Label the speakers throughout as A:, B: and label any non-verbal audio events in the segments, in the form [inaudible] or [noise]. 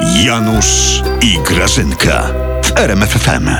A: Janusz i Grażynka w RMFFM.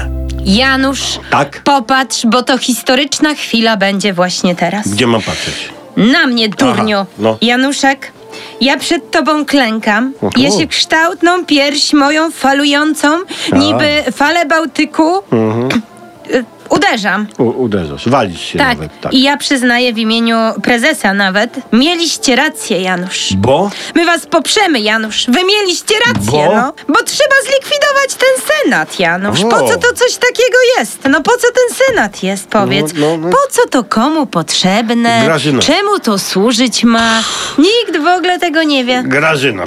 B: Janusz,
C: Tak?
B: popatrz, bo to historyczna chwila będzie właśnie teraz.
C: Gdzie mam patrzeć?
B: Na mnie, durniu.
C: Aha, no.
B: Januszek, ja przed tobą klękam.
C: Mhm.
B: Ja się kształtną pierś moją falującą, niby falę Bałtyku,
C: Mhm.
B: y, [clears throat] uderzam.
C: U, uderzasz, walisz się
B: Tak.
C: nawet. Tak.
B: I ja przyznaję w imieniu prezesa nawet, mieliście rację, Janusz.
C: Bo?
B: My was poprzemy, Janusz. Wy mieliście rację,
C: Bo?
B: no. Bo trzeba zlikwidować ten senat, Janusz. Po
C: O.
B: co to coś takiego jest? No po co ten senat jest, powiedz?
C: No, no, no.
B: Po co to komu potrzebne?
C: Grażyna.
B: Czemu to służyć ma? Nikt w ogóle tego nie wie.
C: Grażyna.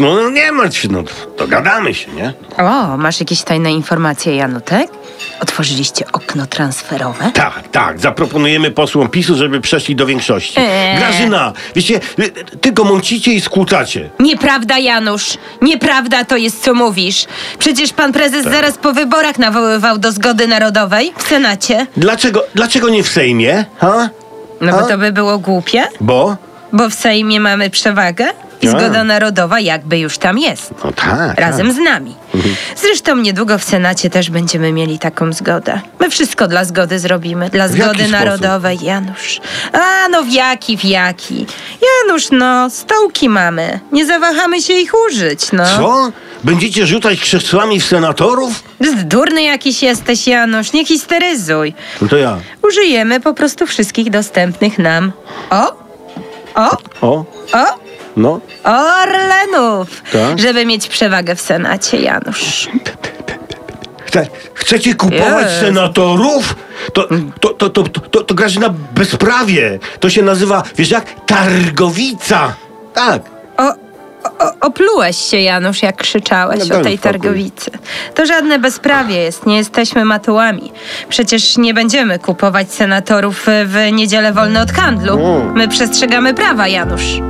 C: No, no nie martw się, no dogadamy się, nie?
B: O, masz jakieś tajne informacje, Janutek? Otworzyliście okno transferowe?
C: Tak, tak, zaproponujemy posłom PiSu, żeby przeszli do większości.
B: Eee.
C: Grażyna, wiecie, y, tylko mącicie i skłócacie.
B: Nieprawda, Janusz. Nieprawda to jest, co mówisz. Przecież pan prezes
C: Tak.
B: zaraz po wyborach nawoływał do zgody narodowej w Senacie.
C: Dlaczego, dlaczego nie w Sejmie? Ha?
B: No bo
C: A?
B: to by było głupie,
C: Bo?
B: bo w Sejmie mamy przewagę i
C: A.
B: zgoda narodowa jakby już tam jest.
C: No tak. Mhm.
B: Razem z nami. Zresztą niedługo w Senacie też będziemy mieli taką zgodę. My wszystko dla zgody zrobimy. Dla
C: jaki
B: zgody
C: sposób?
B: narodowej, Janusz. A no w jaki, w jaki. Janusz, no, stołki mamy. Nie zawahamy się ich użyć, no.
C: Tak. Co? Będziecie rzucać krzesłami w senatorów?
B: Durny jakiś jesteś, Janusz. Nie histeryzuj.
C: No to ja.
B: Użyjemy po prostu wszystkich dostępnych nam. O! O!
C: O,
B: O!
C: no.
B: Orlenów,
C: Tak?
B: żeby mieć przewagę w Senacie, Janusz.
C: Chce, chcecie kupować
B: Jest.
C: senatorów? To, to, to, to, to, to Grażyna bezprawie. To się nazywa, wiesz jak, targowica. Tak.
B: O, o, oplułeś się, Janusz, jak krzyczałeś
C: No
B: o
C: daj
B: tej
C: spokój.
B: targowicy. To żadne bezprawie jest, nie jesteśmy matułami. Przecież nie będziemy kupować senatorów w niedzielę wolne od handlu.
C: No.
B: My przestrzegamy prawa, Janusz.